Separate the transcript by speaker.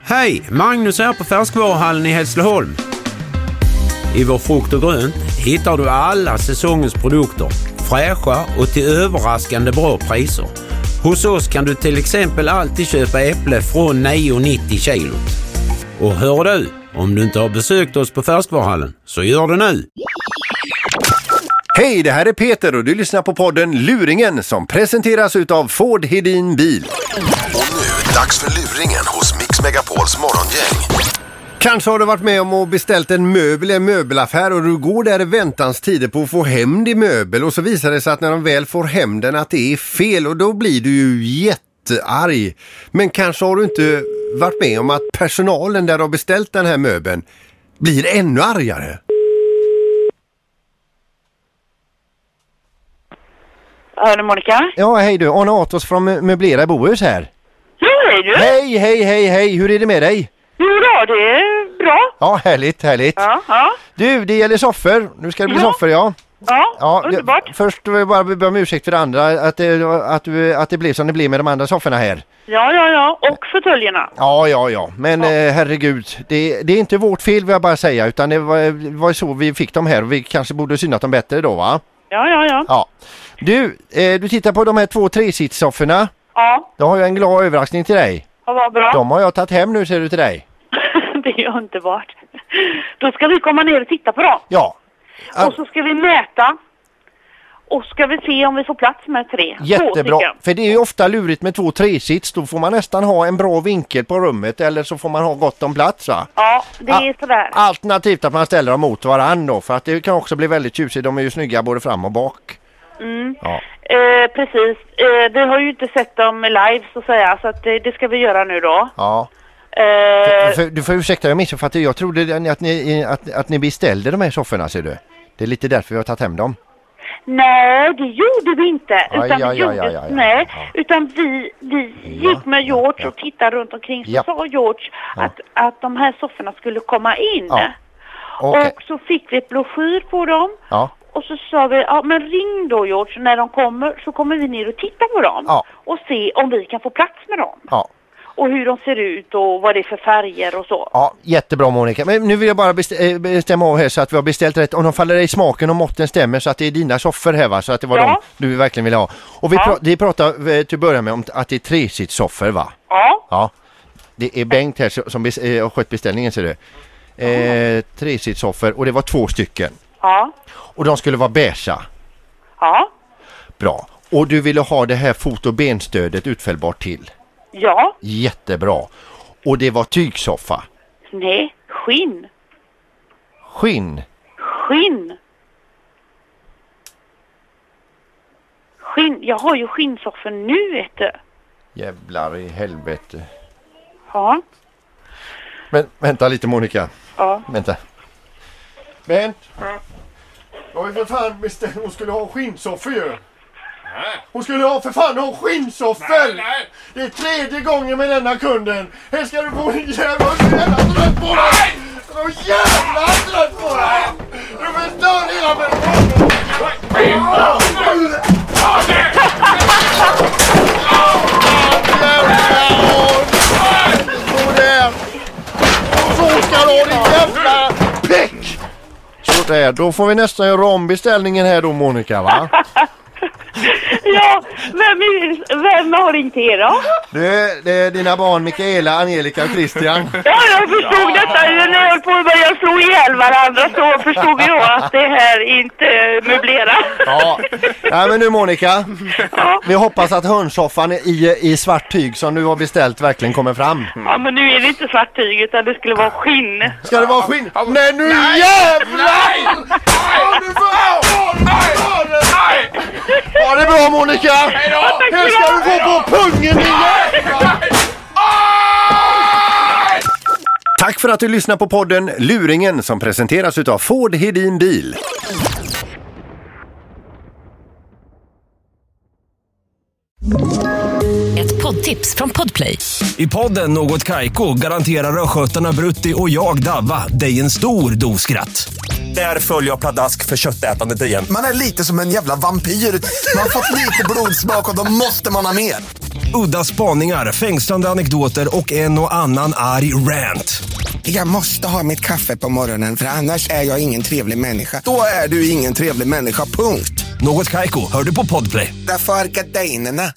Speaker 1: Hej! Magnus här på Färskvaruhallen i Hässleholm. I vår frukt och grönt hittar du alla säsongens produkter. Fräscha och till överraskande bra priser. Hos oss kan du till exempel alltid köpa äpple från 9,90 kilo. Och hör du, om du inte har besökt oss på Färskvaruhallen, så gör det nu!
Speaker 2: Hej, det här är Peter och du lyssnar på podden Luringen som presenteras utav Ford Hedin Bil.
Speaker 3: Och nu, dags för luringen hos Mix Megapols morgongäng.
Speaker 2: Kanske har du varit med om och beställt en möbel i en möbelaffär och du går där i väntans tider på att få hem din möbel och så visar det sig att när de väl får hem den att det är fel och då blir du ju jättearg. Men kanske har du inte varit med om att personalen där du har beställt den här möbeln blir ännu argare.
Speaker 4: Ja, det är Monica.
Speaker 2: Ja, hej du. Arne Atos från Möblera i Bohus här.
Speaker 4: Hur är du?
Speaker 2: Hej, hej, hej, hej! Hur är det med dig?
Speaker 4: Jo då, det är bra.
Speaker 2: Ja, härligt, härligt.
Speaker 4: Ja, ja,
Speaker 2: Du, det gäller soffor. Nu ska det bli
Speaker 4: Ja.
Speaker 2: soffor, ja.
Speaker 4: ja,
Speaker 2: ja det-
Speaker 4: underbart.
Speaker 2: först vill jag bara be om ursäkt för det andra, att det, att, du, att det blev som det blev med de andra sofforna här.
Speaker 4: Ja, ja, ja. Och fåtöljerna.
Speaker 2: Ja, ja, ja. Men Eh, herregud, det, det är inte vårt fel vill jag bara säga, utan det var, var så vi fick dem här och vi kanske borde ha synat dem bättre då, va?
Speaker 4: Ja, ja, ja.
Speaker 2: Ja. Du, eh, du tittar på de här två tresitssofforna.
Speaker 4: Ja,
Speaker 2: Då har jag en glad överraskning till dig.
Speaker 4: ja vad bra.
Speaker 2: De har jag tagit hem nu ser du till dig.
Speaker 4: det är underbart. Då ska vi komma ner och titta på dem.
Speaker 2: Ja, Ja.
Speaker 4: Och så ska vi mäta. Och ska vi se om vi får plats med tre. Två
Speaker 2: Jättebra,
Speaker 4: stycken.
Speaker 2: för det är ju ofta lurigt med två tresits. Då får man nästan ha en bra vinkel på rummet eller så får man ha gott om plats va?
Speaker 4: Ja, det är
Speaker 2: Ah.
Speaker 4: sådär.
Speaker 2: Alternativt att man ställer dem mot varandra då, för att det kan också bli väldigt tjusigt. De är ju snygga både fram och bak. Ja.
Speaker 4: Eh, precis. Eh, vi har ju inte sett dem live så att säga, så att det, det ska vi göra nu då.
Speaker 2: Ja.
Speaker 4: Eh,
Speaker 2: För, du får ursäkta, jag missuppfattade. Jag trodde att ni, att, att ni beställde de här sofforna ser du. Det är lite därför vi har tagit hem dem.
Speaker 4: Nej, det gjorde vi inte.
Speaker 2: Aj,
Speaker 4: Utan
Speaker 2: aj, aj,
Speaker 4: vi gjorde,
Speaker 2: aj, aj, aj.
Speaker 4: nej,
Speaker 2: Ja.
Speaker 4: utan vi, vi
Speaker 2: Ja,
Speaker 4: gick med
Speaker 2: ja,
Speaker 4: George
Speaker 2: ja.
Speaker 4: och tittade runt omkring. Så
Speaker 2: Ja.
Speaker 4: sa George att, att de här sofforna skulle komma in.
Speaker 2: Ja, Okej.
Speaker 4: Och så fick vi ett broschyr på dem.
Speaker 2: Ja.
Speaker 4: Och så sa vi, ja men ring då George, när de kommer så kommer vi ner och titta på dem.
Speaker 2: Ja.
Speaker 4: Och se om vi kan få plats med dem.
Speaker 2: Ja.
Speaker 4: Och hur de ser ut och vad det är för färger och så.
Speaker 2: Ja, jättebra Monica. Men nu vill jag bara best- eh, bestämma av här så att vi har beställt rätt. Om de faller i smaken och måtten stämmer så att det är dina soffor här va? Så att det var
Speaker 4: Ja.
Speaker 2: de du verkligen ville ha. Och vi,
Speaker 4: Ja.
Speaker 2: pra- vi pratar eh, till att börja med om t- att det är tresitssoffor va?
Speaker 4: Ja,
Speaker 2: Ja. Det är Bengt här som- som bes- eh, har skött beställningen ser du. Eh, tresitssoffor och det var två stycken.
Speaker 4: ja,
Speaker 2: Och de skulle vara beiga.
Speaker 4: ja,
Speaker 2: Bra. Och du ville ha det här fot och benstödet utfällbart till.
Speaker 4: ja,
Speaker 2: Jättebra. Och det var tygsoffa.
Speaker 4: nej, skinn,
Speaker 2: Skinn.
Speaker 4: skinn. Skinn, jag har ju skinnsoffor nu vet du.
Speaker 2: Jävlar i helvete.
Speaker 4: Ja,
Speaker 2: Men vänta lite Monica.
Speaker 4: ja.
Speaker 2: Vänta. Bent. Jag har ju för fan beställt. Hon skulle ha skinnsoffor ju. Hon skulle ha för fan ha skinnsoffor! Det är tredje gången med denna kunden. Här ska du få en jävla... Jag är så jävla trött på dig! Jag är så jävla trött på dig! Du förstör hela min... Sådär! Så ska du ha din jävla pick! Sådär, då får vi nästan göra om beställningen här då Monica va?
Speaker 4: Ja, vem, är, vem har ringt er då?
Speaker 2: Det, det är dina barn Mikaela, Angelica och Christian.
Speaker 4: Ja, jag förstod detta ju när jag höll på att börja slå ihjäl varandra så förstod jag att det här inte eh, möblerat.
Speaker 2: Ja. Nej men nu Monica.
Speaker 4: Ja.
Speaker 2: Vi hoppas att hörnsoffan i, i svart tyg som du har beställt verkligen kommer fram.
Speaker 4: ja, men nu är det inte svart tyg utan det skulle vara skinn.
Speaker 2: Ska det vara skinn? Nej nu jävlar! Ha det bra Monica! Hur ska du få på pungen din jävla? Tack för att du lyssnar på podden Luringen som presenteras utav Ford Hedin Bil.
Speaker 5: Ett poddtips från Podplay.
Speaker 6: I podden Något Kaiko garanterar östgötarna Brutti och jag, Davva, dig en stor dos skratt. Där följer jag pladask för köttätandet igen.
Speaker 7: Man är lite som en jävla vampyr. Man har fått lite blodsmak och då måste man ha mer.
Speaker 6: Udda spaningar, fängslande anekdoter och en och annan arg rant.
Speaker 7: Jag måste ha mitt kaffe på morgonen för annars är jag ingen trevlig människa. Då är du ingen trevlig människa, punkt.
Speaker 6: Något Kaiko, hör du på Podplay.
Speaker 7: Därför arkadeinerna.